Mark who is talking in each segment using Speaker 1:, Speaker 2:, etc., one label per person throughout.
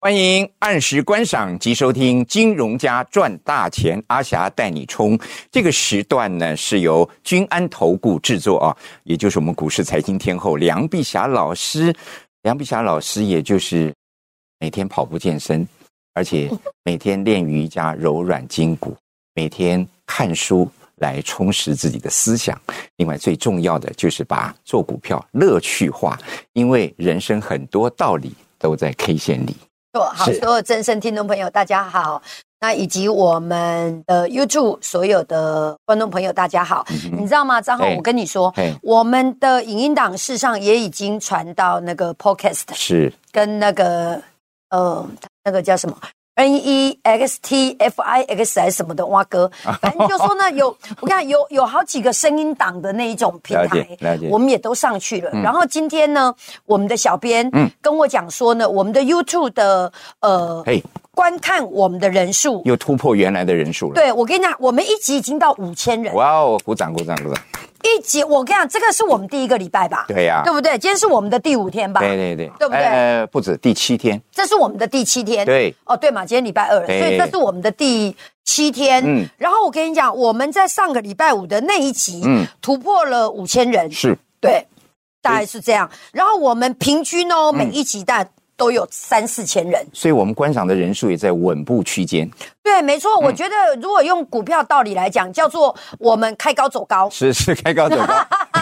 Speaker 1: 欢迎按时观赏及收听《金融家赚大钱》，阿霞带你冲。这个时段呢是由君安投顾制作啊，也就是我们股市财经天后梁碧霞老师。梁碧霞老师也就是每天跑步健身，而且每天练瑜伽柔软筋骨，每天看书来充实自己的思想。另外最重要的就是把做股票乐趣化，因为人生很多道理都在 K 线里。
Speaker 2: 错，好，
Speaker 1: 是
Speaker 2: 所有正声听众朋友，大家好。那以及我们的 YouTube 所有的观众朋友，大家好。你知道吗，张浩
Speaker 1: 哎？
Speaker 2: 我跟你说
Speaker 1: 哎，
Speaker 2: 我们的影音档事实上也已经传到那个 Podcast
Speaker 1: 是
Speaker 2: 跟那个呃那个叫什么 N E X T F I X 还是什么的蛙哥，反正就说呢有我看有有好几个声音档的那一种平
Speaker 1: 了
Speaker 2: 台
Speaker 1: 解了解，
Speaker 2: 我们也都上去了。然后今天呢，我们的小编
Speaker 1: 嗯
Speaker 2: 跟我讲说呢，我们的 YouTube 的呃
Speaker 1: 嘿，
Speaker 2: 观看我们的人数。
Speaker 1: 又突破原来的人数了。
Speaker 2: 对，我跟你讲，我们一集已经到五千人，
Speaker 1: 哇哦，鼓掌鼓掌鼓掌！
Speaker 2: 一集我跟你讲，这个是我们第一个礼拜吧？
Speaker 1: 对呀
Speaker 2: 对不对？今天是我们的第五天吧？
Speaker 1: 对对对，
Speaker 2: 对不对
Speaker 1: 呃，不止第七天，
Speaker 2: 这是我们的第七天。
Speaker 1: 对，
Speaker 2: 哦，对嘛，今天礼拜二了，所
Speaker 1: 对
Speaker 2: 以这是我们的第七天。
Speaker 1: 嗯
Speaker 2: 嗯，然后我跟你讲，我们在上个礼拜五的那一集，
Speaker 1: 嗯
Speaker 2: 嗯，突破了五千人，
Speaker 1: 是
Speaker 2: 对，大概是这样。然后我们平均
Speaker 1: 嗯
Speaker 2: 哦，每一集大概都有三四千人。
Speaker 1: 所以我们观赏的人数也在稳步区间。
Speaker 2: 对，没
Speaker 1: 嗯
Speaker 2: 错，我觉得如果用股票道理来讲，叫做我们开高 走高。
Speaker 1: 是是，开高走 高，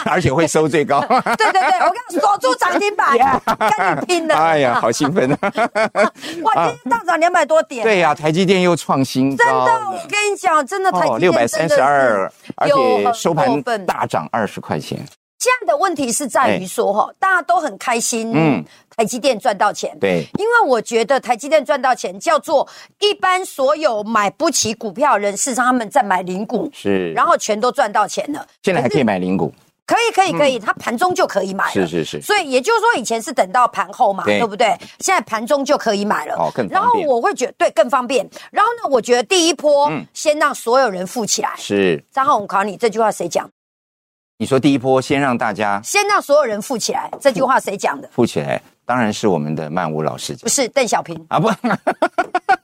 Speaker 1: 而且会收最高。
Speaker 2: 对对对，我跟你讲锁住涨 停板，跟你拼了！
Speaker 1: 哎呀，好兴 奋啊！
Speaker 2: 哇，今天大涨两百多点。
Speaker 1: 对呀、台积电又创新
Speaker 2: 真
Speaker 1: 高
Speaker 2: 的，
Speaker 1: 了
Speaker 2: 我。跟你讲，真的台积
Speaker 1: 哦六百
Speaker 2: 电
Speaker 1: 三
Speaker 2: 真
Speaker 1: 十
Speaker 2: 的
Speaker 1: 二，而
Speaker 2: 是有
Speaker 1: 且
Speaker 2: 很
Speaker 1: 收
Speaker 2: 过
Speaker 1: 盘
Speaker 2: 分。
Speaker 1: 大涨二十块钱。
Speaker 2: 现在的问题是在于说哈，大家都很开心，
Speaker 1: 哎嗯
Speaker 2: 嗯，台积电赚到钱，，
Speaker 1: 对，
Speaker 2: 因为我觉得台积电赚到钱叫做一般所有买不起股票的人，事实上他们在买零股，
Speaker 1: 是。
Speaker 2: 然后全都赚到钱了，
Speaker 1: 现在还可以买零股，
Speaker 2: 可以可以可以，它盘中就可以买了，
Speaker 1: 是是是
Speaker 2: 所以也就是说，以前是等到盘后嘛，
Speaker 1: 对
Speaker 2: 对不对？现在盘中就可以买了，
Speaker 1: 哦更方便
Speaker 2: 然后我会觉得对更方便，然后呢，我觉得第一波
Speaker 1: 嗯
Speaker 2: 先让所有人富起来。
Speaker 1: 是。
Speaker 2: 张浩，我考你这句话谁讲？
Speaker 1: 你说第一波先让大家
Speaker 2: 先让所有人富起来，这句话谁讲的？
Speaker 1: 富起来，当然是我们的曼舞老师
Speaker 2: 不是邓小平，
Speaker 1: 啊，不，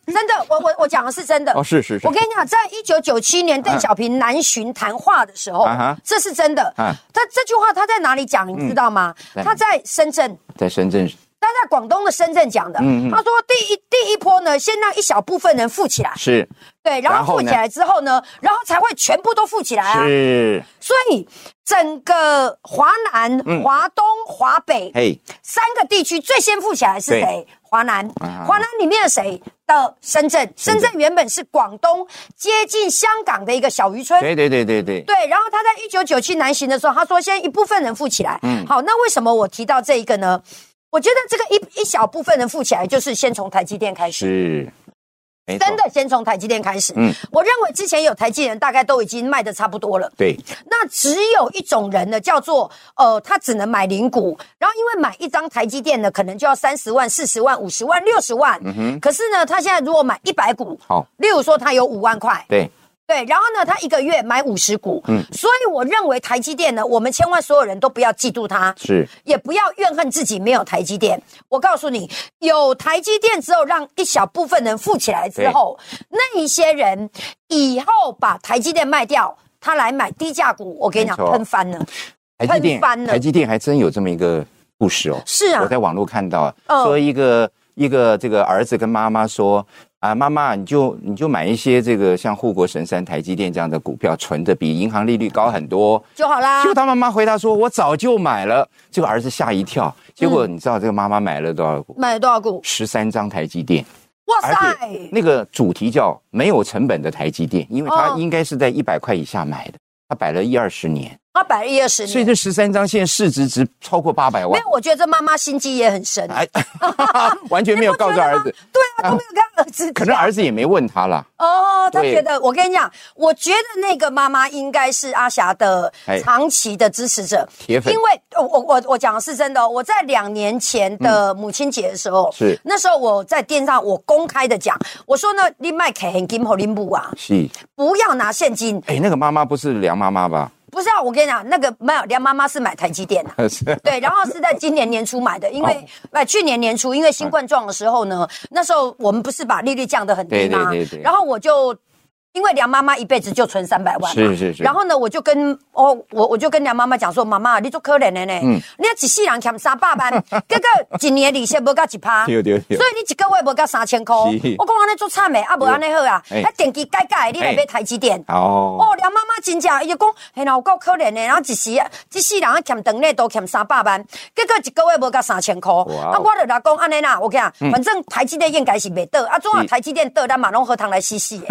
Speaker 2: 真的，我我我讲的是真的。
Speaker 1: 哦，是是是
Speaker 2: 我，跟你讲，在一九九七年邓小平南巡谈话的时候，
Speaker 1: 啊哈
Speaker 2: 这是真的。
Speaker 1: 啊嗯
Speaker 2: 他这句话他在哪里讲，你知道吗？
Speaker 1: 在哪里
Speaker 2: 他在深圳，
Speaker 1: 在深圳
Speaker 2: 他在广东的深圳讲的。
Speaker 1: 嗯嗯
Speaker 2: 他说第一第一波呢，先让一小部分人富起来，
Speaker 1: 是
Speaker 2: 对，
Speaker 1: 然
Speaker 2: 然后
Speaker 1: 后
Speaker 2: 富
Speaker 1: 呢
Speaker 2: 起来之后呢，然后才会全部都富起来啊。
Speaker 1: 是，
Speaker 2: 所以整个华南、华东、华北，
Speaker 1: 嗯嘿，
Speaker 2: 三个地区最先富起来是谁
Speaker 1: 对？
Speaker 2: 华南
Speaker 1: 啊，
Speaker 2: 华南里面的谁的深圳？
Speaker 1: 深
Speaker 2: 深
Speaker 1: 圳
Speaker 2: 圳原本是广东接近香港的一个小渔村。
Speaker 1: 对对对对对，
Speaker 2: 对，然后他在一九九七南巡的时候，他说现在一部分人富起来。
Speaker 1: 嗯
Speaker 2: 好，那为什么我提到这一个呢？我觉得这个一一小部分人富起来，就是先从台积电开始，
Speaker 1: 是，没错
Speaker 2: 真的先从台积电开始。
Speaker 1: 嗯
Speaker 2: 我认为之前有台积人大概都已经卖的差不多了。
Speaker 1: 对，
Speaker 2: 那只有一种人呢，叫做呃，他只能买零股，然后因为买一张台积电呢，可能就要三十万、四十万、五十万、六十万。
Speaker 1: 嗯哼
Speaker 2: 可是呢，他现在如果买一百股，
Speaker 1: 好，
Speaker 2: 例如说他有五万块，
Speaker 1: 对，
Speaker 2: 对，然后呢，他一个月买五十股。
Speaker 1: 嗯
Speaker 2: 所以我认为台积电呢，我们千万所有人都不要嫉妒他。
Speaker 1: 是
Speaker 2: 也不要怨恨自己没有台积电。我告诉你，有台积电之后，让一小部分人富起来之后，那一些人以后把台积电卖掉，他来买低价股，我跟你讲，
Speaker 1: 没错
Speaker 2: 喷翻了。
Speaker 1: 台积电，
Speaker 2: 喷翻了
Speaker 1: 台积电还真有这么一个故事哦。
Speaker 2: 是啊
Speaker 1: 我，在网络看到，
Speaker 2: 嗯
Speaker 1: 说一个一个这个儿子跟妈妈说。啊，妈妈，你就你就买一些这个像护国神山、台积电这样的股票，存的比银行利率高很多。哦
Speaker 2: 就好啦
Speaker 1: 结。果他妈妈回答说：“我早就买了。”这个儿子吓一跳。
Speaker 2: 嗯
Speaker 1: 结果你知道这个妈妈买了多少股？
Speaker 2: 买了多少股？
Speaker 1: 十三张台积电。
Speaker 2: 哇
Speaker 1: 而
Speaker 2: 塞！
Speaker 1: 且那个主题叫没有成本的台积电，因为它
Speaker 2: 哦
Speaker 1: 应该是在一百块以下买的，它摆了一二十年，
Speaker 2: 他摆了一二十
Speaker 1: 所以
Speaker 2: 年。
Speaker 1: 这十三张现在市值值超过八百
Speaker 2: 没
Speaker 1: 万
Speaker 2: 有，，我觉得这妈妈心机也很深。
Speaker 1: 哎， 完全没有告诉儿子，
Speaker 2: 对啊，都没有跟儿 子讲。
Speaker 1: 可能儿子也没问他啦。
Speaker 2: 哦，他
Speaker 1: 对
Speaker 2: 觉得我跟你讲，我觉得那个妈妈应该是阿霞的
Speaker 1: 哎
Speaker 2: 长期的支持者，
Speaker 1: 铁粉
Speaker 2: 因为呃我我我讲的是真的哦、我在两年前的母亲节的时候，
Speaker 1: 嗯是
Speaker 2: 那时候我在电视上我公开的讲，我说呢，你卖给很金和林布啊，
Speaker 1: 是，
Speaker 2: 不要拿现金。
Speaker 1: 哎哎，那个妈妈不是梁妈妈吧？
Speaker 2: 不是啊，我跟你讲，那个没有梁妈妈是买台积电的、对，然后是在今年年初买的，因为呃去年年初因为
Speaker 1: 嗯
Speaker 2: 新冠状的时候呢，那时候我们不是把利率降得很低吗？
Speaker 1: 对对对对
Speaker 2: 然后我就。因为梁妈妈一辈子就存三百万嘛，
Speaker 1: 是是是
Speaker 2: 然后呢，我就跟哦，我我就跟梁妈妈讲说，妈妈，你做可怜的呢，
Speaker 1: 嗯
Speaker 2: 你要一世人欠三百万，结果一年利息无到一 趴，
Speaker 1: 对对对
Speaker 2: 所以你一个月无到三千块，我讲
Speaker 1: 是
Speaker 2: 安尼做惨的，啊，无安尼好啊，
Speaker 1: 哎
Speaker 2: 啊，电器改改，你来买台积电。
Speaker 1: 哦，
Speaker 2: 哦，梁妈妈真正，伊就讲，嘿啦，有够可怜的，然后一时一世人啊欠长内都欠三百万，结果一个月无到三千箍。
Speaker 1: 哇哦嗯
Speaker 2: 啊，我就来讲安尼啦，我跟你讲，反正台积电应该是袂倒，啊，中华台积电倒，咱马龙荷塘来洗洗 的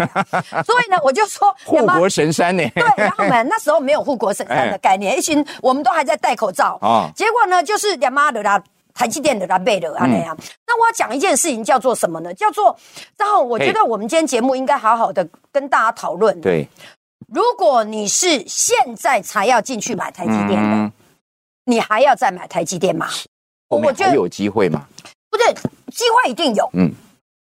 Speaker 2: 啦。所以呢，我就说，
Speaker 1: 护国神山呢？
Speaker 2: 对，然后我们那时候没有护国神山的概念，一群我们都还在戴口罩。
Speaker 1: 哦
Speaker 2: 结果呢，就是两妈的啦。台积电的啦，背的啊那
Speaker 1: 嗯
Speaker 2: 样。那我要讲一件事情，叫做什么呢？叫做，然后我觉得我们今天节目应该好好的跟大家讨论。
Speaker 1: 对，
Speaker 2: 如果你是现在才要进去买台积电的，
Speaker 1: 嗯，
Speaker 2: 你还要再买台积电吗？
Speaker 1: 后面
Speaker 2: 我觉
Speaker 1: 还
Speaker 2: 得
Speaker 1: 有机会嘛？
Speaker 2: 不对，机会一定有。
Speaker 1: 嗯，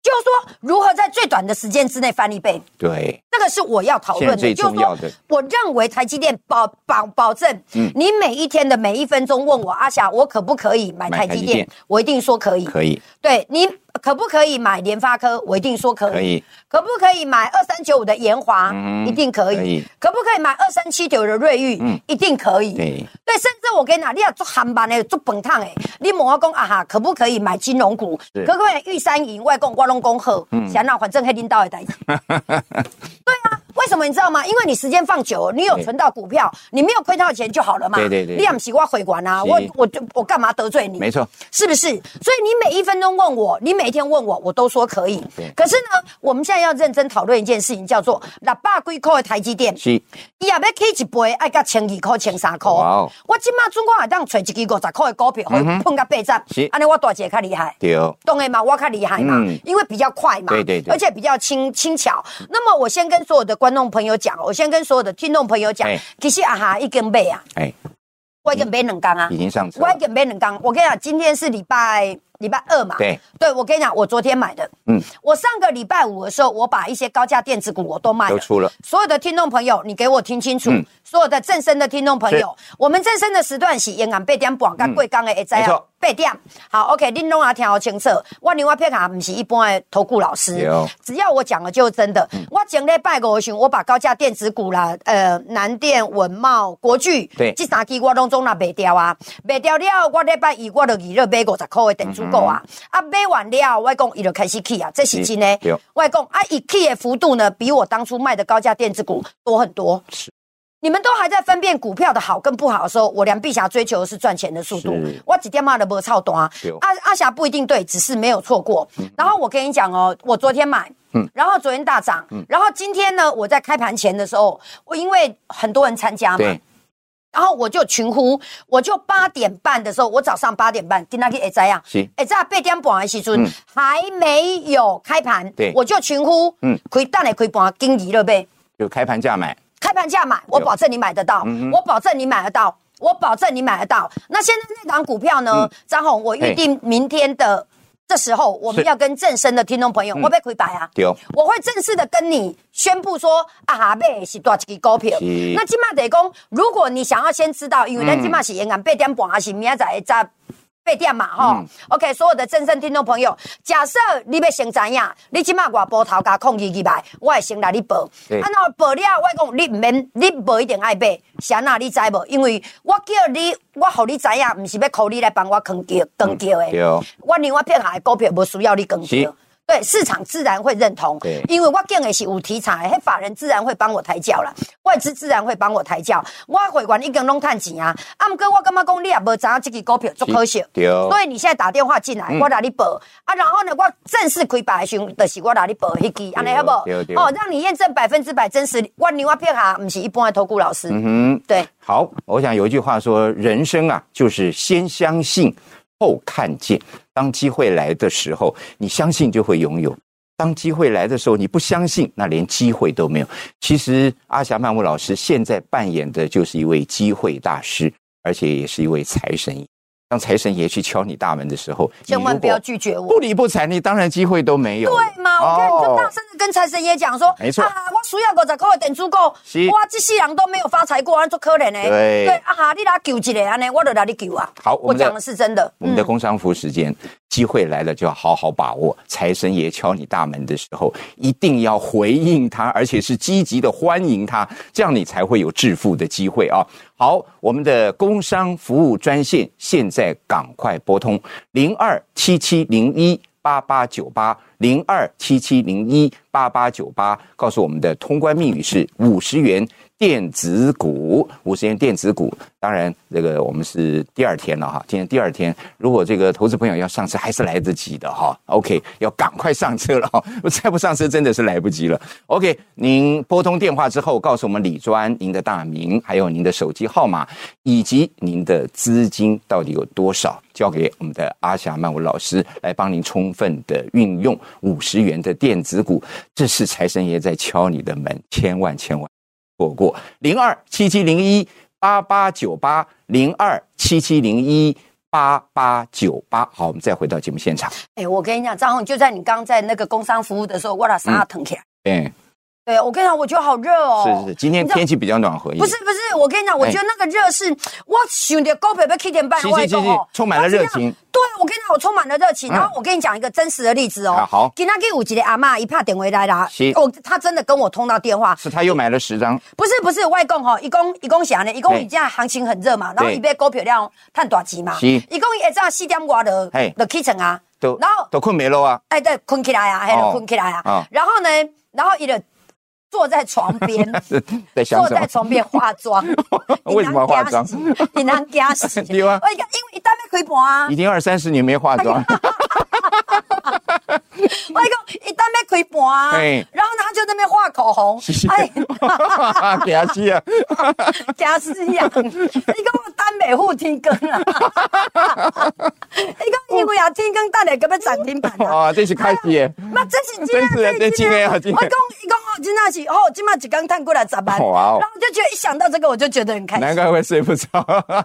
Speaker 2: 就是说如何在最短的时间之内翻一倍，
Speaker 1: 对，
Speaker 2: 这个是我要讨论的。
Speaker 1: 现在最重要的嗯
Speaker 2: 就是说我认为台积电保保保证，你每一天的每一分钟问我阿霞，我可不可以买
Speaker 1: 买
Speaker 2: 台积
Speaker 1: 台积
Speaker 2: 电
Speaker 1: 电？
Speaker 2: 我一定说可以。
Speaker 1: 可以，
Speaker 2: 对你可不可以买联发科？我一定说可以。
Speaker 1: 可以
Speaker 2: 可不可以买二三九五的延华？
Speaker 1: 嗯
Speaker 2: 一定可以。
Speaker 1: 可以嗯
Speaker 2: 可不可以买二三七九的瑞昱？一定可以。
Speaker 1: 对
Speaker 2: 对，甚至我跟你讲，你要做韩版的、做本烫的，你问我讲啊哈，可不可以买金融股？
Speaker 1: 是嗯
Speaker 2: 可不可以玉山银外公我拢讲好，想那反正黑领导的 代志。对啊，为什么你知道吗？因为你时间放久了，你有
Speaker 1: 对
Speaker 2: 存到股票，你没有亏到钱就好了嘛。
Speaker 1: 嗯对对对
Speaker 2: 你也不是我毁管啊，
Speaker 1: 是
Speaker 2: 我我就我干嘛得罪你？
Speaker 1: 没错，
Speaker 2: 是不是？所以你每一分钟问我，你每一天问我，我都说可以
Speaker 1: 对。
Speaker 2: 可是呢，我们现在要认真讨论一件事情，叫做六百几块的台积电，
Speaker 1: 是
Speaker 2: 伊也要起一倍，爱到千二块、千三块。
Speaker 1: 哇哦
Speaker 2: 我即马准我也当找一支五十块的股票，可以碰到八十
Speaker 1: 嗯是，
Speaker 2: 安尼我大姐较厉害。
Speaker 1: 对，
Speaker 2: 懂然嘛，我较厉害嘛，
Speaker 1: 嗯
Speaker 2: 因为比较快嘛，
Speaker 1: 对对对
Speaker 2: 而且比较轻轻巧。那么我先跟所有的观众朋友讲，我先跟所有的听众朋友讲
Speaker 1: 哎，
Speaker 2: 其实啊哈，一根买啊，
Speaker 1: 哎，
Speaker 2: 我一根买两缸啊，
Speaker 1: 已经上车
Speaker 2: 我
Speaker 1: 了，
Speaker 2: 还准备冷缸。我跟你讲，今天是礼拜礼拜二嘛。
Speaker 1: 对，
Speaker 2: 我跟你讲，我昨天买的。嗯
Speaker 1: 嗯，
Speaker 2: 我上个礼拜五的时候，我把一些高价电子股我都卖了
Speaker 1: 都。出了，
Speaker 2: 所有的听众朋友，你给我听清楚，
Speaker 1: 嗯
Speaker 2: 所有的正声的听众朋友，我们正声的时段是延安八点半跟贵港的会知
Speaker 1: 嗯没
Speaker 2: 啊
Speaker 1: 错。
Speaker 2: 八点好，OK，恁拢也听好清楚。我另外撇卡不是一般的投顾老师
Speaker 1: 对哦，嗯
Speaker 2: 只要我讲的就是真的。我前礼拜五的时候，我把高价电子股啦，呃，南电、文茂、国巨，
Speaker 1: 对
Speaker 2: 这三支我拢总也卖掉啊，卖掉了，我礼拜一我就预热买五十块的电子股啊，啊，买完了，我讲伊就开始起啊，这是真的
Speaker 1: 嗯是对。
Speaker 2: 外公啊，一 K 的幅度呢，比我当初卖的高价电子股多很多。
Speaker 1: 是，
Speaker 2: 你们都还在分辨股票的好跟不好的时候，我梁碧霞追求的是赚钱的速度
Speaker 1: 是，
Speaker 2: 我几天骂的不操短啊
Speaker 1: 对哦。
Speaker 2: 阿阿霞不一定对，只是没有错过。
Speaker 1: 嗯
Speaker 2: 然后我跟你讲哦，我昨天买。然后昨天大涨，
Speaker 1: 嗯
Speaker 2: 然后今天呢，我在开盘前的时候，我因为很多人参加嘛，
Speaker 1: 对，
Speaker 2: 然后我就群呼，我就八点半的时候，我早上八点半，今天去会知啊，
Speaker 1: 是
Speaker 2: 会知啊八点半的时阵、
Speaker 1: 嗯
Speaker 2: 还没有开盘，
Speaker 1: 对
Speaker 2: 我就群呼，嗯
Speaker 1: 嗯，
Speaker 2: 开蛋的开盘，金鱼了呗，
Speaker 1: 就开盘价买，
Speaker 2: 开盘价买，我保证你买得到，
Speaker 1: 嗯
Speaker 2: 我保证你买得到，我保证你买得到。那现在那档股票
Speaker 1: 嗯
Speaker 2: 呢，张红，我预定明天的这时候，我们
Speaker 1: 是嗯
Speaker 2: 要跟正身的听众朋友，我被亏白啊，
Speaker 1: 对，
Speaker 2: 我会正式的跟你宣布说，啊哈贝是多少一支股票。
Speaker 1: 是嗯
Speaker 2: 那今嘛得讲，如果你想要先知道，因为咱今嘛是延安八点半，还是明仔载再八点嘛吼、OK，所有
Speaker 1: 嗯
Speaker 2: 的正身听众朋友，假设你要先知影，你今嘛外波头加控制起来，我会先来你报。
Speaker 1: 对
Speaker 2: 啊，那报了，我讲你毋免，你无一定爱买，啥那你知无？因为我叫你，我互你知影，毋是要靠你来帮我扛叫扛叫的。
Speaker 1: 对哦
Speaker 2: 我另外撇下的股票无需要你扛
Speaker 1: 是
Speaker 2: 叫。对市场自然会认同，
Speaker 1: 对
Speaker 2: 因为我讲的是有题材，迄法人自然会帮我抬轿啦，外资自然会帮我抬轿，我会员已经拢趁钱啊。啊，毋过我感觉讲你也无知影这支股票足可惜
Speaker 1: 是，哦嗯对
Speaker 2: 所以你现在打电话进来，我来你报啊，然后呢，我正式开牌的时候，就是我来你报迄支，安尼好不好
Speaker 1: 对对？
Speaker 2: 哦，让你验证百分之百真实。我另外撇下，毋是一般的投顾老师，
Speaker 1: 嗯，
Speaker 2: 对，
Speaker 1: 好，我想有一句话说，人生啊，就是先相信，后看见。当机会来的时候，你相信就会拥有；当机会来的时候，你不相信，那连机会都没有。其实，阿霞曼舞老师现在扮演的就是一位机会大师，而且也是一位财神爷。当财神爷去敲你大门的时候，
Speaker 2: 千
Speaker 1: 你
Speaker 2: 万
Speaker 1: 如
Speaker 2: 不
Speaker 1: 果
Speaker 2: 要拒绝我
Speaker 1: 不。理不睬，你当然机会都没有。
Speaker 2: 对嘛？我看你就
Speaker 1: 哦
Speaker 2: 大声的跟财神爷讲说，
Speaker 1: 没错
Speaker 2: 啊，我需要五十块的电子股，
Speaker 1: 是
Speaker 2: 我这世人都没有发财过，安做可怜的。
Speaker 1: 对
Speaker 2: 啊哈，你来救一个安尼，我就来你救啊。
Speaker 1: 好我
Speaker 2: 我
Speaker 1: 们的
Speaker 2: 讲的是真的。
Speaker 1: 我
Speaker 2: 嗯
Speaker 1: 们的工商服务时间，机会来了就要好好把握。财神爷敲你大门的时候，一定要回应他，而且是积极的欢迎他，这样你才会有致富的机会啊！好，我们的工商服务专线现在赶快拨通零二七七零一八八九八零二七七零一八八九八，告诉我们的通关密语是五十元电子股，五十元电子股。当然，这个我们是第二天了哈，今天第二天，如果这个投资朋友要上车，还是来得及的哈。OK，要赶快上车了哈， 再不上车真的是来不及了。OK，您拨通电话之后，告诉我们李专您的大名，还有您的手机号码，以及您的资金到底有多少。交给我们的阿霞曼舞老师来帮您充分的运用五十元的电子股，这是财神爷在敲你的门，千万千万错过零二七七零一八八九八零二七七零一八八九八。好，我们再回到节目现场。
Speaker 2: 哎、我跟你讲，张红，就在你刚在那个工商服务的时候，我俩啥疼起来。
Speaker 1: 哎，
Speaker 2: 对，我跟你讲，我觉得好热哦。
Speaker 1: 是是，今天
Speaker 2: 你知道
Speaker 1: 天气比较暖和一点。
Speaker 2: 不是不是，我跟你讲，我
Speaker 1: 哎
Speaker 2: 觉得那个热是，我想着高北北七点半
Speaker 1: 是，
Speaker 2: 我也
Speaker 1: 是是
Speaker 2: 讲哦
Speaker 1: 是，充满了热
Speaker 2: 我是这样
Speaker 1: 情。
Speaker 2: 对，我跟你讲，我充满了热情。
Speaker 1: 嗯
Speaker 2: 然后我跟你讲一个真实的例子
Speaker 1: 啊
Speaker 2: 哦。
Speaker 1: 好
Speaker 2: 今天给五级的阿嬷一怕点回来啦
Speaker 1: 是，
Speaker 2: 哦，她真的跟我通到电话，
Speaker 1: 是他又买了十张，
Speaker 2: 不是不是，外公吼，一公一公是安尼，一公
Speaker 1: 嘿
Speaker 2: 伊这样行情很热嘛，然后
Speaker 1: 对
Speaker 2: 伊买股票了，赚大钱嘛，
Speaker 1: 是
Speaker 2: 一公伊这样四点外就
Speaker 1: 嘿
Speaker 2: 就起床啊，
Speaker 1: 都
Speaker 2: 然后
Speaker 1: 都困没了啊！
Speaker 2: 哎对，困起来啊，嘿
Speaker 1: 哦，
Speaker 2: 困起来
Speaker 1: 哦
Speaker 2: 啊，然后呢，然后伊就坐在床边，
Speaker 1: 在 想
Speaker 2: 坐
Speaker 1: 什
Speaker 2: 在
Speaker 1: 么？，
Speaker 2: 床边化妆
Speaker 1: 为什么要化妆，
Speaker 2: 你难惊死
Speaker 1: 对啊
Speaker 2: 我讲因为伊当面开盘 啊，
Speaker 1: 已经二三十年没化妆，
Speaker 2: 我讲伊当面开盘啊
Speaker 1: 嘿，
Speaker 2: 然后呢他就在那边画口红
Speaker 1: 谢谢，
Speaker 2: 哎，
Speaker 1: 给他气 啊！
Speaker 2: 惊死呀！你讲我等美户天光啊，你讲因为啊天光等下个要涨停板啊。
Speaker 1: 啊，这是开始耶！
Speaker 2: 嘛，这是真
Speaker 1: 真是啊
Speaker 2: 的，
Speaker 1: 这真的啊真的
Speaker 2: 我讲，伊讲哦，真的是哦，今麦一刚探过来咋办？
Speaker 1: 哇哦
Speaker 2: 然后我就觉得一想到这个，我就觉得很开
Speaker 1: 难
Speaker 2: 心。
Speaker 1: 怪会睡不着。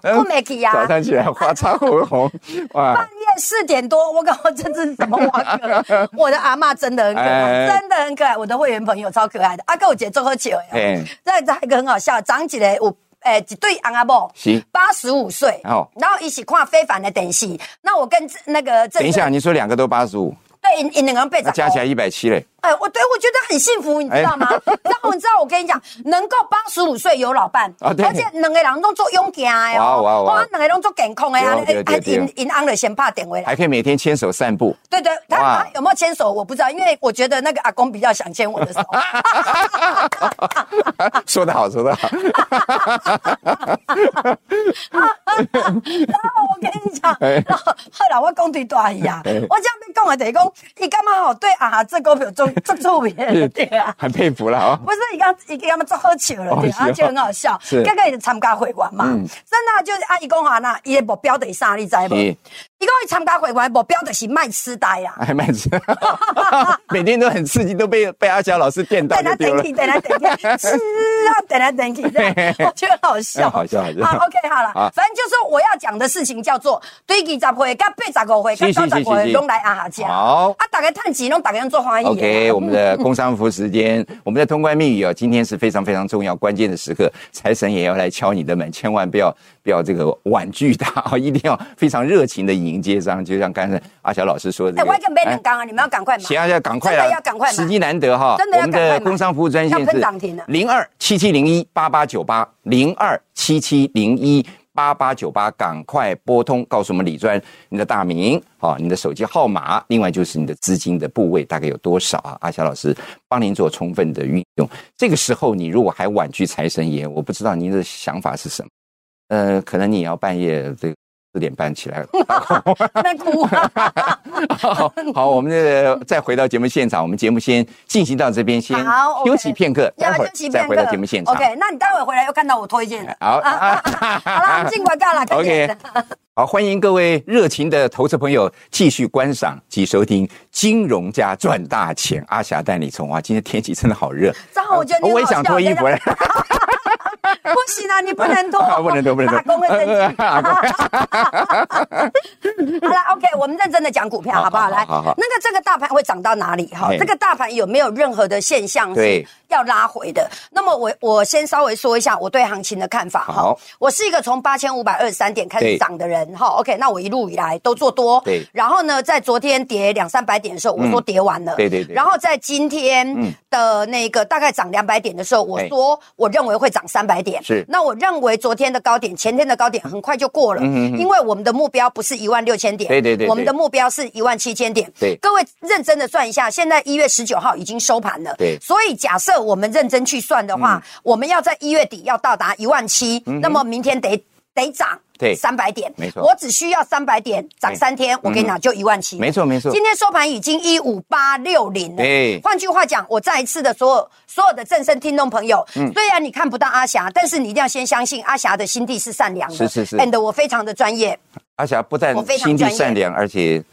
Speaker 2: 哎困不起 啊
Speaker 1: 早上起来画擦口红，哇
Speaker 2: 半！夜四点多，我搞这是什么网格？ 我的阿嬷真的很可
Speaker 1: 哎
Speaker 2: 爱，真的很可爱。我的会员朋友超可爱的，阿哥我姐做喝酒哎，
Speaker 1: 哎，
Speaker 2: 再再一个很好笑，长起来有诶一对翁阿某，
Speaker 1: 行，
Speaker 2: 八十五岁，
Speaker 1: 哦
Speaker 2: 然后一起看非凡的等戏。那我跟那个郑
Speaker 1: 等一，下，你说两个都八十五，
Speaker 2: 对，因因两个人被
Speaker 1: 那加起来一哎百七嘞。
Speaker 2: 哎，我对我觉得很幸福，你知道吗？然后你知道我跟你讲，能够八十五岁有老伴，
Speaker 1: 啊对
Speaker 2: 而且两个人都做勇敢的哦，
Speaker 1: 哇哇哇
Speaker 2: 哇两个人都健康的啊，
Speaker 1: 对对对对
Speaker 2: 因因安了先怕点回来。
Speaker 1: 还可以每天牵手散步，
Speaker 2: 对对，他
Speaker 1: 哇
Speaker 2: 他有没有牵手我不知道，因为我觉得那个阿公比较想牵我 的手。哦
Speaker 1: 说得好，说得好，
Speaker 2: 然后我跟你讲，
Speaker 1: 哎
Speaker 2: 然后后来我讲对大姨啊，我这样边讲的等于讲，你干嘛好对啊？这股票做做出名的对啊。
Speaker 1: 很佩服了啊！
Speaker 2: 不是，你刚你给他们做喝酒了，对
Speaker 1: 哦是哦
Speaker 2: 啊，就很好笑
Speaker 1: 是。嗯
Speaker 2: 刚刚也参加会员嘛，真的啊就是阿姨讲话那伊的目标就是啥，你知无？
Speaker 1: 是
Speaker 2: 伊讲伊参加会员目标就是卖痴呆啊。
Speaker 1: 还蛮吃， 每天都很刺激，都被被阿霞老师电到
Speaker 2: 等
Speaker 1: 就
Speaker 2: 他
Speaker 1: 丢
Speaker 2: 等
Speaker 1: 了
Speaker 2: 你，。等他等你，是啊，等他等你，这样我觉得好笑，
Speaker 1: 哎好笑好笑
Speaker 2: 好，OK，好了
Speaker 1: 啊，
Speaker 2: 反正就是我要讲的事情叫做对几十回、跟八十五回、
Speaker 1: 是
Speaker 2: 跟
Speaker 1: 是
Speaker 2: 九十
Speaker 1: 是是
Speaker 2: 回
Speaker 1: 是
Speaker 2: 拢来阿哈家，
Speaker 1: 好
Speaker 2: 啊，大家探钱拢大家拢做欢喜的。
Speaker 1: OK，我们的工商服务时间， 我们的通关密语哦，今天是非常非常重要关键的时刻，财神也要来敲你的门，千万不要不要这个婉拒他哦，一定要非常热情的迎接上，就像刚才阿小老师说的、
Speaker 2: 哎，
Speaker 1: 这
Speaker 2: 我
Speaker 1: 个。
Speaker 2: 还跟没人讲啊，你们要赶快买。
Speaker 1: 行啊，要赶快
Speaker 2: 真
Speaker 1: 了，
Speaker 2: 的要赶快买
Speaker 1: 时机难得哈。
Speaker 2: 真的要
Speaker 1: 我
Speaker 2: 赶
Speaker 1: 们
Speaker 2: 快买
Speaker 1: 的工商服务专线
Speaker 2: 要
Speaker 1: 是
Speaker 2: 喷涨停了
Speaker 1: 零二七七零一八八九八零二七七零一八八九八，赶快拨通，告诉我们李专你的大名，好，你的手机号码，另外就是你的资金的部位大概有多少啊？阿霞老师帮您做充分的运用。这个时候你如果还婉拒财神爷，我不知道您的想法是什么。呃，可能你也要半夜这个四点半起来
Speaker 2: 那哭啊，
Speaker 1: 好，好，我们这再回到节目现场，我们节目先进行到这边，先
Speaker 2: 好，OK
Speaker 1: 休息片刻，待
Speaker 2: 要
Speaker 1: 会
Speaker 2: 休
Speaker 1: 儿
Speaker 2: 息
Speaker 1: 再
Speaker 2: 片
Speaker 1: 哎回
Speaker 2: 刻
Speaker 1: 到节目现场。
Speaker 2: OK，那你待会回来又看到我推荐了。
Speaker 1: 好啊
Speaker 2: 啊，好了，我们进广告了。快点
Speaker 1: OK 好，欢迎各位热情的投资朋友继续观赏及收听《金融家赚大钱》，阿霞带你冲啊！今天天气真的好热，
Speaker 2: 张浩，我觉得你
Speaker 1: 我
Speaker 2: 很
Speaker 1: 也
Speaker 2: 好笑
Speaker 1: 想脱衣服了。，
Speaker 2: 不行啊，你不能拖
Speaker 1: 不能拖不能拖
Speaker 2: 打工会生 气。
Speaker 1: 打工
Speaker 2: 好了，OK，我们认真的讲股票，
Speaker 1: 好
Speaker 2: 好不好？
Speaker 1: 好
Speaker 2: 来，
Speaker 1: 好好
Speaker 2: 那个这个大盘会涨到哪里？哈，
Speaker 1: 嘿
Speaker 2: 这个大盘有没有任何的现象是
Speaker 1: 对
Speaker 2: 要拉回的？那么我我先稍微说一下我对行情的看法哈
Speaker 1: 好。
Speaker 2: 我是一个从八千五百二十三点开始
Speaker 1: 对
Speaker 2: 涨的人哈。OK，那我一路以来都做多，
Speaker 1: 对
Speaker 2: 然后呢，在昨天跌两三百点的时候，我说
Speaker 1: 嗯
Speaker 2: 跌完了，
Speaker 1: 对对对
Speaker 2: 然后在今天
Speaker 1: 嗯
Speaker 2: 的那个大概涨两百点的时候，我
Speaker 1: 哎
Speaker 2: 说我认为会涨三百点，
Speaker 1: 是
Speaker 2: 那我认为昨天的高点、前天的高点很快就过了，
Speaker 1: 嗯嗯嗯
Speaker 2: 因为我们的目标不是一万六千点，
Speaker 1: 对对对对
Speaker 2: 我们的目标是一万七千点。
Speaker 1: 对
Speaker 2: 各位认真的算一下，现在一月十九号已经收盘了，
Speaker 1: 对嗯
Speaker 2: 所以假设我们认真去算的话，我们要在一月底要到达一万七，那么明天得得涨。
Speaker 1: 对
Speaker 2: 三百点，
Speaker 1: 没错哎嗯
Speaker 2: 我只需要三百点涨三天，我跟你讲就一万七，
Speaker 1: 没错没错
Speaker 2: 今天收盘已经一五八六零了，
Speaker 1: 对
Speaker 2: 换句话讲，我再一次的所有所有的正声听众朋友，
Speaker 1: 嗯
Speaker 2: 虽然你看不到阿霞，但是你一定要先相信阿霞的心地是善良的，
Speaker 1: 是是是
Speaker 2: and 我非常的 专业，
Speaker 1: 阿霞不但
Speaker 2: 我非常
Speaker 1: 心地
Speaker 2: 专业
Speaker 1: 善良，而且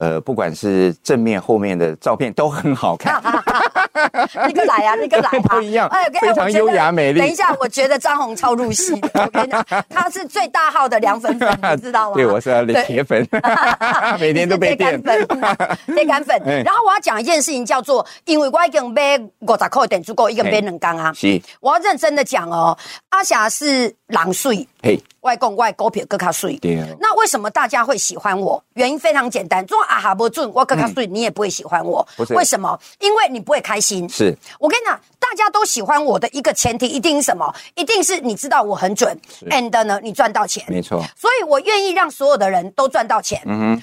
Speaker 1: 呃，不管是正面后面的照片都很好 看。
Speaker 2: 那个来啊，那个来啊，
Speaker 1: 不一样
Speaker 2: 我跟
Speaker 1: 非常
Speaker 2: 我觉得
Speaker 1: 优雅美丽
Speaker 2: 等一下，我觉得张红超入戏 的，我跟你讲，他是最大号的凉粉粉，你知道吗？
Speaker 1: 对，我是他的
Speaker 2: 对
Speaker 1: 铁粉， 每天都被电
Speaker 2: 你。是铁杆 粉，铁杆粉。
Speaker 1: 哎
Speaker 2: 然后我要讲一件事情，叫做因为我已经买五十块点足够，一个买两缸啊。
Speaker 1: 是，
Speaker 2: 我要认真的讲哦，阿霞是狼睡，
Speaker 1: 嘿，
Speaker 2: 外公外狗撇更卡睡。
Speaker 1: 对哦
Speaker 2: 那为什么大家会喜欢我？原因非常简单，做阿哈不准我更卡睡，你也不会喜欢我
Speaker 1: 嗯不。是
Speaker 2: 为什么？因为你不会开心。
Speaker 1: 是
Speaker 2: 我跟你讲，大家都喜欢我的一个前提一定是什么？一定是你知道我很准，and 呢，你赚到钱。
Speaker 1: 没错，嗯
Speaker 2: 所以我愿意让所有的人都赚到钱。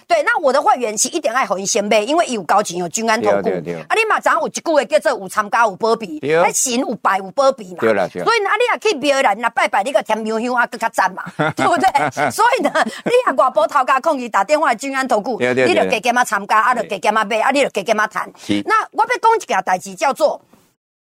Speaker 2: 对，那我的会员是一点爱红一先倍，因为伊有高情有均安投顾
Speaker 1: 对啊对啊对啊，
Speaker 2: 啊，你嘛知影有一句话叫做有参加有保庇，
Speaker 1: 对啊
Speaker 2: 那行有败有保庇嘛。
Speaker 1: 对啦对啦
Speaker 2: 所以呢，啊你也去别人那拜拜，你个甜香香啊，更加赞 嘛，对不对？所以呢，你也外部头家控伊打电话来均安投顾，
Speaker 1: 对啊对啊
Speaker 2: 你
Speaker 1: 对啊
Speaker 2: 就加减啊参加，啊就加减啊买，啊你就加减啊谈
Speaker 1: 是。
Speaker 2: 那我要讲一件代志叫做。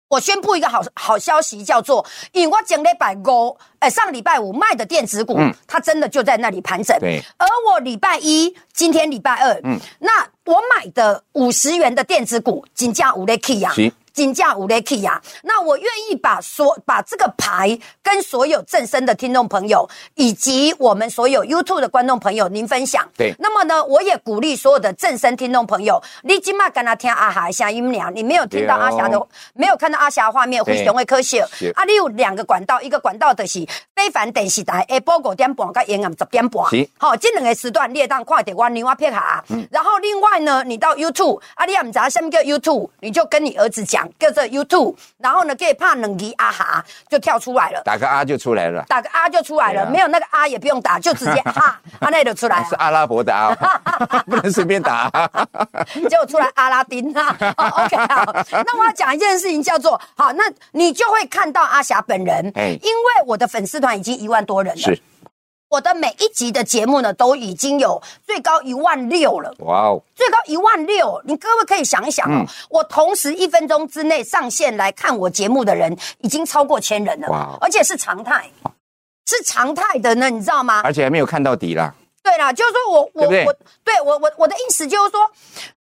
Speaker 2: 我宣布一个好好消息，叫做，因为我前礼拜五，呃，上礼拜五卖的电子股，
Speaker 1: 嗯
Speaker 2: 它真的就在那里盘整。
Speaker 1: 对
Speaker 2: 而我礼拜一，今天礼拜二，嗯，那我买的五十元的电子股，金价五 l 起呀
Speaker 1: 是，
Speaker 2: 金价五 l 起呀。那我愿意把所把这个牌跟所有正身的听众朋友，以及我们所有 YouTube 的观众朋友，您分享。
Speaker 1: 对
Speaker 2: 那么呢，我也鼓励所有的正身听众朋友，你今麦跟他听阿霞的声音俩，你没有听到阿霞的
Speaker 1: 对哦
Speaker 2: 没有看到阿霞的画面，非
Speaker 1: 对
Speaker 2: 常的可惜。
Speaker 1: 是
Speaker 2: 啊，你有两个管道，一个管道就是非凡电视台下晡五点半到延晚十点半
Speaker 1: 是，
Speaker 2: 好、这两个时段列当快点我牛蛙片卡。
Speaker 1: 嗯
Speaker 2: 然后另外呢，你到 YouTube，啊，你也唔知道什么叫 YouTube，你就跟你儿子讲叫做 YouTube，然后呢，给怕两个阿哈就跳出来了。
Speaker 1: 打个啊就出来了，
Speaker 2: 打个啊就出来了，
Speaker 1: 对啊
Speaker 2: 没有那个啊也不用打，就直接 哈，啊那就出来了
Speaker 1: 是。阿拉伯的啊， 不能随便打啊。
Speaker 2: 结果出来阿拉丁啊、 哦、，OK 好，那我要讲一件事情，叫做好，那你就会看到阿霞本人，
Speaker 1: 哎
Speaker 2: 因为我的粉丝团已经一万多人了，
Speaker 1: 是，
Speaker 2: 我的每一集的节目呢都已经有最高一万六了。
Speaker 1: 哇哦，
Speaker 2: 最高一万六，你各位可以想一想
Speaker 1: 嗯
Speaker 2: 哦。我同时一分钟之内上线来看我节目的人，已经超过千人了，
Speaker 1: 哇哦
Speaker 2: 而且是常态，是常态的呢，你知道吗？
Speaker 1: 而且还没有看到底啦。
Speaker 2: 对啦，就是说我我
Speaker 1: 哎对不对
Speaker 2: 我对我我我的意思就是说，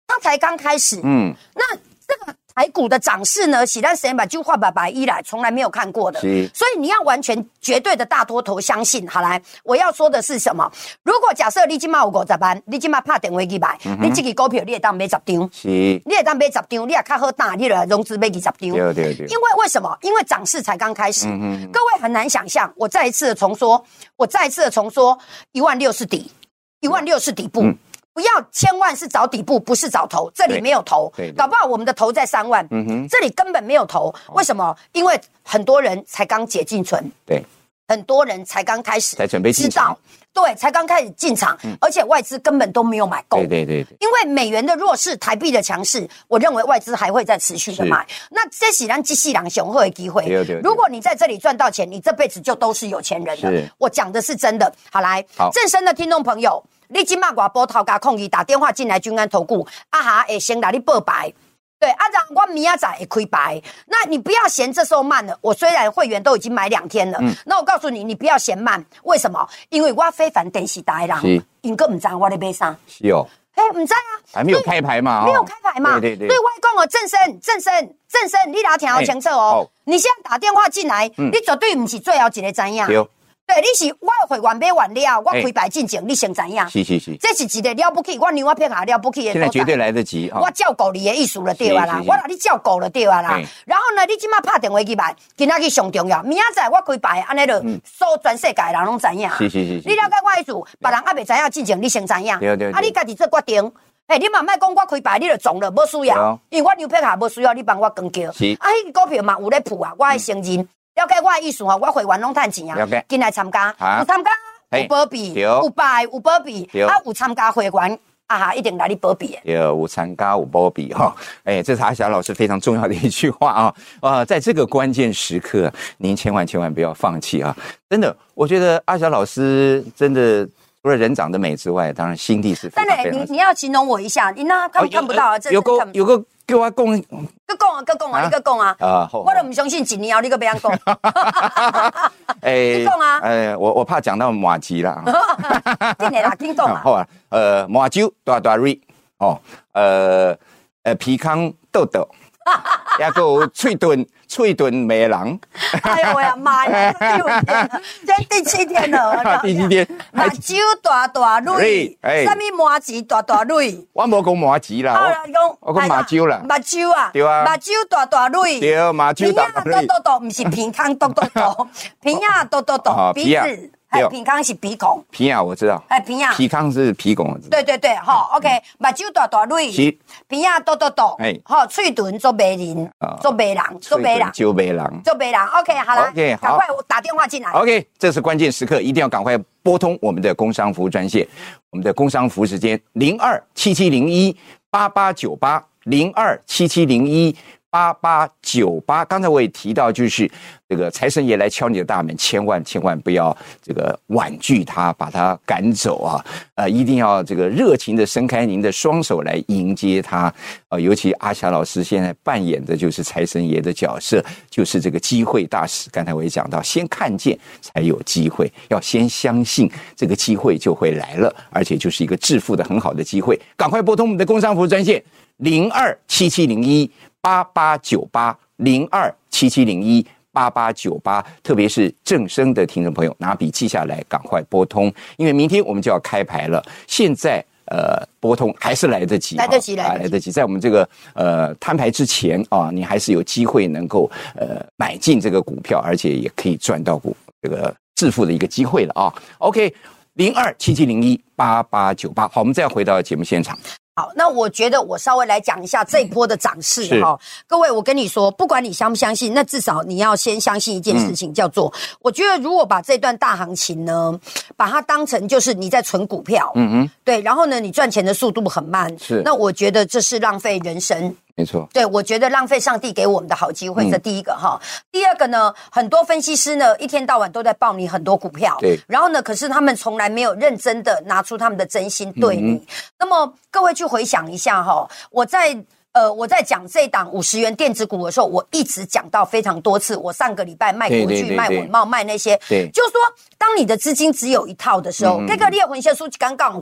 Speaker 2: 它才刚开始，
Speaker 1: 嗯，
Speaker 2: 那这个台股的涨势呢，喜蛋神把就画百百一来从来没有看过的，
Speaker 1: 是
Speaker 2: 所以你要完全绝对的大多头相信。好来，我要说的是什么？如果假设你今麦有五十万，你今麦拍电话去买，
Speaker 1: 嗯
Speaker 2: 你这个股票你会当买十张，
Speaker 1: 是，
Speaker 2: 你会当买十张，你也较好打，你就来融资买二十张。
Speaker 1: 对哦嗯对对
Speaker 2: 因为为什么？因为涨势才刚开始，各位很难想象。我再一次的重说，我再一次的重说，一万六是底，一万六是底部。不要，千万是找底部，不是找头。这里
Speaker 1: 嗯对
Speaker 2: 没有头
Speaker 1: 对，对嗯哦
Speaker 2: 搞不好我们的头在三万，这里根本没有头。为什么？因为很多人才刚解禁存，
Speaker 1: 对，
Speaker 2: 很多人才刚开始
Speaker 1: 才准备
Speaker 2: 知
Speaker 1: 进场嗯
Speaker 2: 道，对，才刚开始进场，而且外资根本都没有买够。
Speaker 1: 对对对对，
Speaker 2: 因为美元的弱势，台币的强势，我认为外资还会再持续的买。那这喜然机器两雄厚的机会
Speaker 1: 对啊对对，
Speaker 2: 如果你在这里赚到钱，你这辈子就都是有钱人了
Speaker 1: 是。
Speaker 2: 我讲的是真的。好来
Speaker 1: 好，
Speaker 2: 正身的听众朋友，你今麦寡波头家控伊打电话进来均安投顾，啊哈，会先来你报白。对，啊，然我明仔载也亏白，那你不要嫌这时候慢了。我虽然会员都已经买两天了，
Speaker 1: 嗯
Speaker 2: 那我告诉你，你不要嫌慢，为什么？因为我非凡电视台的人
Speaker 1: 是，
Speaker 2: 因个唔知道我咧买啥，
Speaker 1: 是哦，
Speaker 2: 嘿，唔知啊，
Speaker 1: 还没有开牌嘛，哦
Speaker 2: 没有开牌嘛，
Speaker 1: 对对对
Speaker 2: 所以，外公哦，正生，正生，正生，你哪听好清楚哦！
Speaker 1: 哎好
Speaker 2: 你现在打电话进来，
Speaker 1: 嗯
Speaker 2: 你绝对不是最后一个知影。
Speaker 1: 对，哦
Speaker 2: 对，你是我会完买完了，我
Speaker 1: 哎
Speaker 2: 开牌进前，你先知影。
Speaker 1: 是是是，
Speaker 2: 这是一个了不起，我牛我骗下了不起的
Speaker 1: 现在
Speaker 2: 所在
Speaker 1: 绝对来得及啊
Speaker 2: 我！照顾你的意思就对啊啦
Speaker 1: 是是，是哎
Speaker 2: 我让你照顾就对啊啦
Speaker 1: 嘿。
Speaker 2: 然后呢，你即马拍电话去办，今仔日上重要，明仔载我开牌，安尼就所有全世界的人拢知影。
Speaker 1: 嗯是是是是
Speaker 2: 你了解我意思，别人还未知影之前，你先知影。
Speaker 1: 对对对
Speaker 2: 啊，你家己做决定。嘿，你嘛莫讲我开牌，你就中了，无需
Speaker 1: 对
Speaker 2: 要
Speaker 1: 啊，
Speaker 2: 因为我牛皮下无需要你帮我跟叫。
Speaker 1: 是
Speaker 2: 啊，迄个股票嘛有咧铺啊，我爱承认。了解我的意思吼，我会员拢趁钱啊
Speaker 1: 了解，
Speaker 2: 进来参加，
Speaker 1: 啊
Speaker 2: 有参加，
Speaker 1: 嘿
Speaker 2: 有保庇，
Speaker 1: 对
Speaker 2: 有拜，有保庇
Speaker 1: 对，
Speaker 2: 啊，有参加会员，啊哈，一定来你保庇的。
Speaker 1: 有五参加五波比哈，哎，这是阿霞老师非常重要的一句话啊 啊，在这个关键时刻，您千万千万不要放弃啊！真的，我觉得阿霞老师真的除了人长得美之外，当然心地是非
Speaker 2: 但
Speaker 1: 常
Speaker 2: 嘞，
Speaker 1: 非
Speaker 2: 你
Speaker 1: 常。哦
Speaker 2: 你要形容我一下，你那看看不到啊？这
Speaker 1: 有
Speaker 2: 个
Speaker 1: 个有个给我供
Speaker 2: 个讲啊，个讲啊，
Speaker 1: 啊
Speaker 2: 你个讲啊！
Speaker 1: 啊，好
Speaker 2: 我都唔相信一年后你个别人讲，
Speaker 1: 哎
Speaker 2: 你讲啊
Speaker 1: 哎，我我怕讲到马吉 了啊。
Speaker 2: 真的啦，听懂啊？
Speaker 1: 好啊，呃，麻酒大大瑞哦，呃呃，皮康豆 豆，也有脆炖脆炖美人，。
Speaker 2: 哎呦喂呀妈呀！这第五天，这第七天了
Speaker 1: 第七天
Speaker 2: 目
Speaker 1: 还
Speaker 2: 睭大大蕊，
Speaker 1: 哎
Speaker 2: 什么麻子大大蕊？
Speaker 1: 我无讲麻吉
Speaker 2: 啊
Speaker 1: 啦，，
Speaker 2: 讲
Speaker 1: 我讲目睭啦
Speaker 2: 目睭啊，
Speaker 1: 对啊
Speaker 2: 目睭大大蕊，啊
Speaker 1: 对目睭大大蕊
Speaker 2: 鼻仔嘟嘟嘟，唔是鼻孔嘟嘟嘟， 鼻啊嘟嘟嘟
Speaker 1: 哦，
Speaker 2: 鼻
Speaker 1: 鼻啊
Speaker 2: 子，还
Speaker 1: 对
Speaker 2: 鼻孔是鼻孔，
Speaker 1: 皮啊我知道，
Speaker 2: 还鼻啊。
Speaker 1: 皮康是皮孔，我知道，
Speaker 2: 对对对，吼，OK，目睭大大蕊
Speaker 1: 嗯
Speaker 2: 啊
Speaker 1: 是，
Speaker 2: 鼻仔嘟嘟嘟
Speaker 1: 哎，
Speaker 2: 吼，喙唇做白人
Speaker 1: 啊，
Speaker 2: 做白人，做白人，
Speaker 1: 酒美人。
Speaker 2: 做白人，OK，好了，
Speaker 1: OK，好
Speaker 2: 赶快我打电话进来。
Speaker 1: OK，这是关键时刻，一定要赶快拨通我们的工商服务专线，我们的工商服务时间零二七七零一八八九八零二七七零一八八九八。刚才我也提到，就是这个财神爷来敲你的大门，千万千万不要这个婉拒他，把他赶走啊！呃，一定要这个热情的伸开您的双手来迎接他。呃，尤其阿霞老师现在扮演的就是财神爷的角色，就是这个机会大使。刚才我也讲到，先看见才有机会，要先相信这个机会就会来了，而且就是一个致富的很好的机会。赶快拨通我们的工商服务专线零二七七零一八八九八零二七七零一。八八九八，特别是正声的听众朋友，拿笔记下来，赶快拨通，因为明天我们就要开牌了。现在呃，拨通还是来得及啊，
Speaker 2: 来得及来
Speaker 1: 啊
Speaker 2: 得及
Speaker 1: 来得及。在我们这个呃摊牌之前啊，你还是有机会能够呃买进这个股票，而且也可以赚到股这个致富的一个机会了啊。OK，零二七七零一八八九八，好，我们再回到节目现场。
Speaker 2: 好，那我觉得我稍微来讲一下这一波的涨势
Speaker 1: 是
Speaker 2: 哈、各位，我跟你说，不管你相不相信，那至少你要先相信一件
Speaker 1: 嗯
Speaker 2: 事情，叫做、我觉得如果把这段大行情呢，把它当成就是你在存股票，
Speaker 1: 嗯哼，
Speaker 2: 对，然后呢，你赚钱的速度很慢，
Speaker 1: 是
Speaker 2: 那我觉得这是浪费人生。
Speaker 1: 没错，
Speaker 2: 对，我觉得浪费上帝给我们的好机会，
Speaker 1: 嗯
Speaker 2: 这第一个哈。第二个呢，很多分析师呢一天到晚都在报你很多股票，
Speaker 1: 对
Speaker 2: 然后呢，可是他们从来没有认真的拿出他们的真心
Speaker 1: 嗯
Speaker 2: 对你。那么各位去回想一下哈，我在。呃，我在讲这档五十元电子股的时候，我一直讲到非常多次。我上个礼拜卖
Speaker 1: 对
Speaker 2: 国
Speaker 1: 对
Speaker 2: 巨、
Speaker 1: 对
Speaker 2: 卖
Speaker 1: 对
Speaker 2: 文茂、卖那些，
Speaker 1: 对嗯
Speaker 2: 就是说，当你的资金只有一套的时候，这个你的魂线书刚刚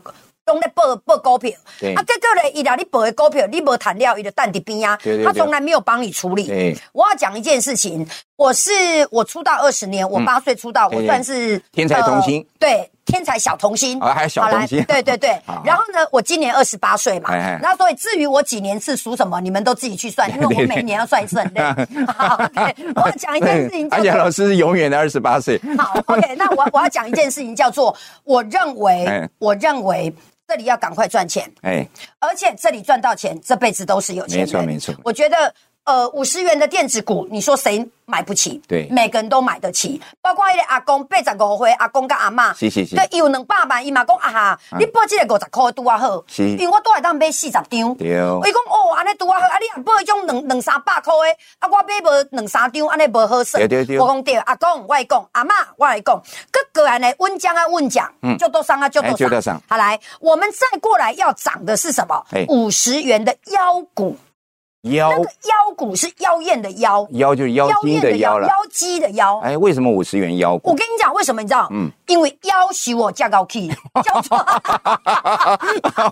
Speaker 2: 拢在报报股票，
Speaker 1: 对
Speaker 2: 啊，结果呢，伊让你报的股票，你无谈了，伊就蛋伫边啊
Speaker 1: 对对，对
Speaker 2: 他从来没有帮你处理。
Speaker 1: 对，
Speaker 2: 我要讲一件事情，我是我出道二十年，我八岁出道，
Speaker 1: 对
Speaker 2: 我算是
Speaker 1: 天才童星
Speaker 2: 呃对，天才小童星
Speaker 1: 啊还有小
Speaker 2: 好来
Speaker 1: 童星
Speaker 2: 对对对
Speaker 1: 好好。
Speaker 2: 然后呢，我今年二十八岁嘛
Speaker 1: 哎哎，
Speaker 2: 那所以至于我几年次属什么，你们都自己去算，因为
Speaker 1: 对
Speaker 2: 我
Speaker 1: 对
Speaker 2: 每年要算一次很累。好，OK，我要讲一件事情，
Speaker 1: 阿
Speaker 2: 叫
Speaker 1: 霞
Speaker 2: 做
Speaker 1: 哎老师是永远的二十八岁，
Speaker 2: 好，OK，那我我要讲一件事情，叫做我认为
Speaker 1: 哎，
Speaker 2: 我认为这里要赶快赚钱，
Speaker 1: 哎，
Speaker 2: 而且这里赚到钱，这辈子都是有钱人。
Speaker 1: 没错没错
Speaker 2: 我觉得。呃，五十元的电子股，你说谁买不起？
Speaker 1: 对
Speaker 2: 每个人都买得起，包括那个阿公八十五岁，阿公跟阿嬷，
Speaker 1: 是是是
Speaker 2: 对，他有两百万，伊嘛讲啊哈，你报这个五十块拄啊好，
Speaker 1: 是
Speaker 2: 因为我都会当买四十张，伊讲
Speaker 1: 对哦
Speaker 2: 哦，安尼拄啊好，啊你若报迄种两两三百块的，啊我买无两三张，安尼无好算，
Speaker 1: 对对对
Speaker 2: 我讲对，阿公我会讲，阿嬷我会讲，各个安尼稳讲啊稳讲，
Speaker 1: 嗯
Speaker 2: 就都上啊就
Speaker 1: 哎就
Speaker 2: 都
Speaker 1: 都
Speaker 2: 上
Speaker 1: 上。
Speaker 2: 好，来，我们再过来要涨的是什么
Speaker 1: 哎？
Speaker 2: 五十元的腰股，
Speaker 1: 妖
Speaker 2: 那个妖股是妖艳的妖，
Speaker 1: 妖就是妖精的妖了
Speaker 2: 妖。姬的妖。
Speaker 1: 哎，为什么五十元妖
Speaker 2: 我
Speaker 1: 股？
Speaker 2: 跟你讲，为什么你知道？嗯，因为要挟我价高 key，叫做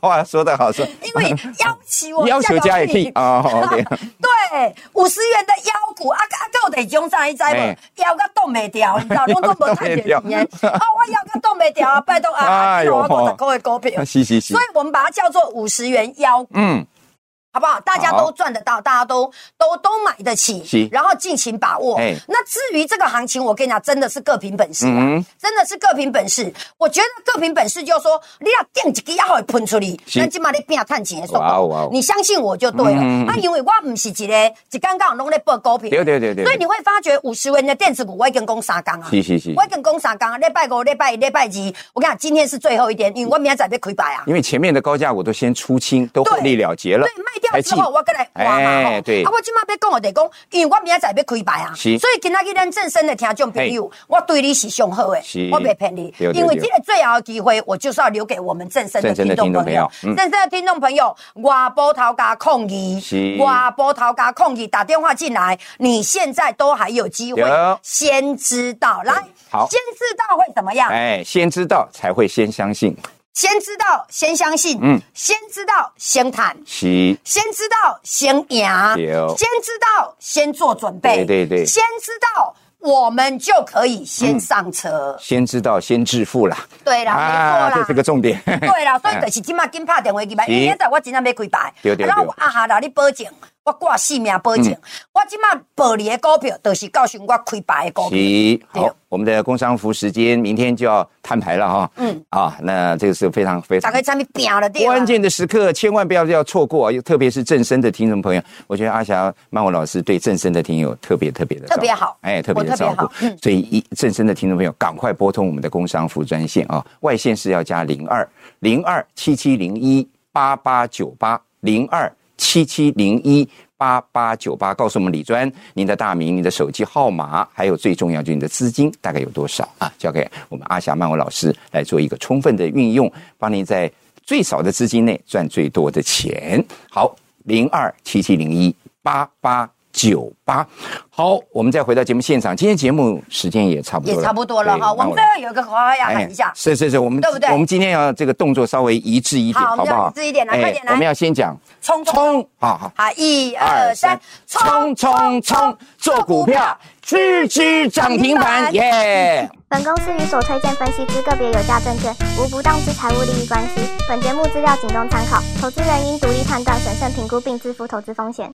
Speaker 1: 哇，说的好说，
Speaker 2: 因为要挟我
Speaker 1: 要求加也 可以啊。好 OK，
Speaker 2: 对，五十元的腰股啊啊，够得用上一摘
Speaker 1: 哎
Speaker 2: 无？腰个冻 袂掉，你知道，拢都无太
Speaker 1: 腰
Speaker 2: 便
Speaker 1: 到
Speaker 2: 宜。
Speaker 1: 袂
Speaker 2: 啊，我腰个冻袂掉啊，拜托啊，啊，
Speaker 1: 哎
Speaker 2: 你
Speaker 1: 呦
Speaker 2: 我五十块的股 票，
Speaker 1: 是是是
Speaker 2: 所以，我们把它叫做五十元腰股。
Speaker 1: 嗯，
Speaker 2: 好不好？大家
Speaker 1: 好
Speaker 2: 都赚得到，大家都都都买得
Speaker 1: 是
Speaker 2: 起，然后尽情把握
Speaker 1: 哎。
Speaker 2: 那至于这个行情，我跟你讲，真的是各凭本事啊
Speaker 1: 嗯，
Speaker 2: 真的是各凭本事。我觉得各凭本事，就是说你要定一个要好喷出去，
Speaker 1: 是
Speaker 2: 咱起码你变探钱的速度
Speaker 1: 哇哦哇哦
Speaker 2: 你相信我就对了。
Speaker 1: 嗯嗯嗯
Speaker 2: 啊，因为我唔是一个一刚刚弄咧报股票，
Speaker 1: 对对对对对
Speaker 2: 所以你会发觉五十元的电子股，我已经讲三缸啊。
Speaker 1: 是是是
Speaker 2: 我，已经讲三缸啊，礼拜五、礼拜一、礼拜二，我跟你讲，今天是最后一天，因为我明仔载要开牌啊。
Speaker 1: 因为前面的高价我都先出清，都获利了结了，
Speaker 2: 对，卖掉之后我再来挖嘛
Speaker 1: 哎
Speaker 2: 吼。
Speaker 1: 对
Speaker 2: 啊，，我即马要讲我得讲，因为我明仔载要开牌啊，所
Speaker 1: 是
Speaker 2: 以今仔日咱正身的听众朋友，我对你是上好的
Speaker 1: 是，
Speaker 2: 我袂骗你，
Speaker 1: 对对对
Speaker 2: 因为这个最后的机会，我就是要留给我们正身的
Speaker 1: 正身
Speaker 2: 听
Speaker 1: 的
Speaker 2: 众
Speaker 1: 听众
Speaker 2: 朋
Speaker 1: 朋
Speaker 2: 友
Speaker 1: 友，
Speaker 2: 正
Speaker 1: 嗯
Speaker 2: 身的听众朋友，外波头加控议
Speaker 1: 是，
Speaker 2: 外波头加控议，打电话进来，你现在都还有机会
Speaker 1: 有，
Speaker 2: 先知道来，
Speaker 1: 好
Speaker 2: 先知道会怎么样？
Speaker 1: 哎，先知道才会先相信，
Speaker 2: 先知道，先相信，
Speaker 1: 嗯
Speaker 2: 先知道，先谈。
Speaker 1: 是，
Speaker 2: 先知道先赢，
Speaker 1: 对哦
Speaker 2: 先知道先做准备，
Speaker 1: 对对对
Speaker 2: 先知道我们就可以先上车。
Speaker 1: 先知道先致富啦，啊
Speaker 2: 对啦，没错
Speaker 1: 嗯这
Speaker 2: 啦。
Speaker 1: 是个重点，
Speaker 2: 对啦，所以就是今麦紧拍电话去买，
Speaker 1: 是
Speaker 2: 因为现在我真正要开牌，
Speaker 1: 对对
Speaker 2: 啊然后我
Speaker 1: 对嗯
Speaker 2: 啊哈啦，你保证，我挂性命保证，我今麦保你的股票，就是告诉我开牌的股票。
Speaker 1: 是
Speaker 2: 对
Speaker 1: 好，我们的工商服时间明天就要摊牌了哈。
Speaker 2: 嗯
Speaker 1: 嗯啊，那这个是非常非
Speaker 2: 大
Speaker 1: 常
Speaker 2: 概产品拼了对啦
Speaker 1: 关键的时刻，千万不要要错过，啊特别是正身的听众朋友，我觉得阿霞曼舞老师对正身的听友特别特别的
Speaker 2: 特别好
Speaker 1: 哎，特别
Speaker 2: 我
Speaker 1: 的
Speaker 2: 特
Speaker 1: 照
Speaker 2: 别好嗯
Speaker 1: 顾。所以一正身的听众朋友，赶快拨通我们的工商服专线啊，外线是要加零二零二七七零一八八九八零二七七零一。八八九八，告诉我们李专您的大名、您的手机号码，还有最重要就是你的资金大概有多少啊？交给我们阿霞曼舞老师来做一个充分的运用，帮您在最少的资金内赚最多的钱。好，零二七七零一八八九八。好，我们再回到节目现场，今天节目时间也差不多
Speaker 2: 也
Speaker 1: 了，
Speaker 2: 差不多了
Speaker 1: 对
Speaker 2: 哈。我们最后有一个口号要喊一下
Speaker 1: 哎，是是是，我们
Speaker 2: 对不对
Speaker 1: 我们今天要这个动作稍微一致一点，好
Speaker 2: 好
Speaker 1: 不
Speaker 2: 我
Speaker 1: 好
Speaker 2: 们？要一致一点来快点来
Speaker 1: 我们要先讲
Speaker 2: 冲冲
Speaker 1: 冲，好好。
Speaker 2: 好，一二三，
Speaker 1: 冲冲冲！做股票，吃吃涨停板，耶、
Speaker 3: 本公司与所推荐分析之个别有价证券无不当之财务利益关系。本节目资料仅供参考，投资人应独立判断、审慎评估并自负投资风险。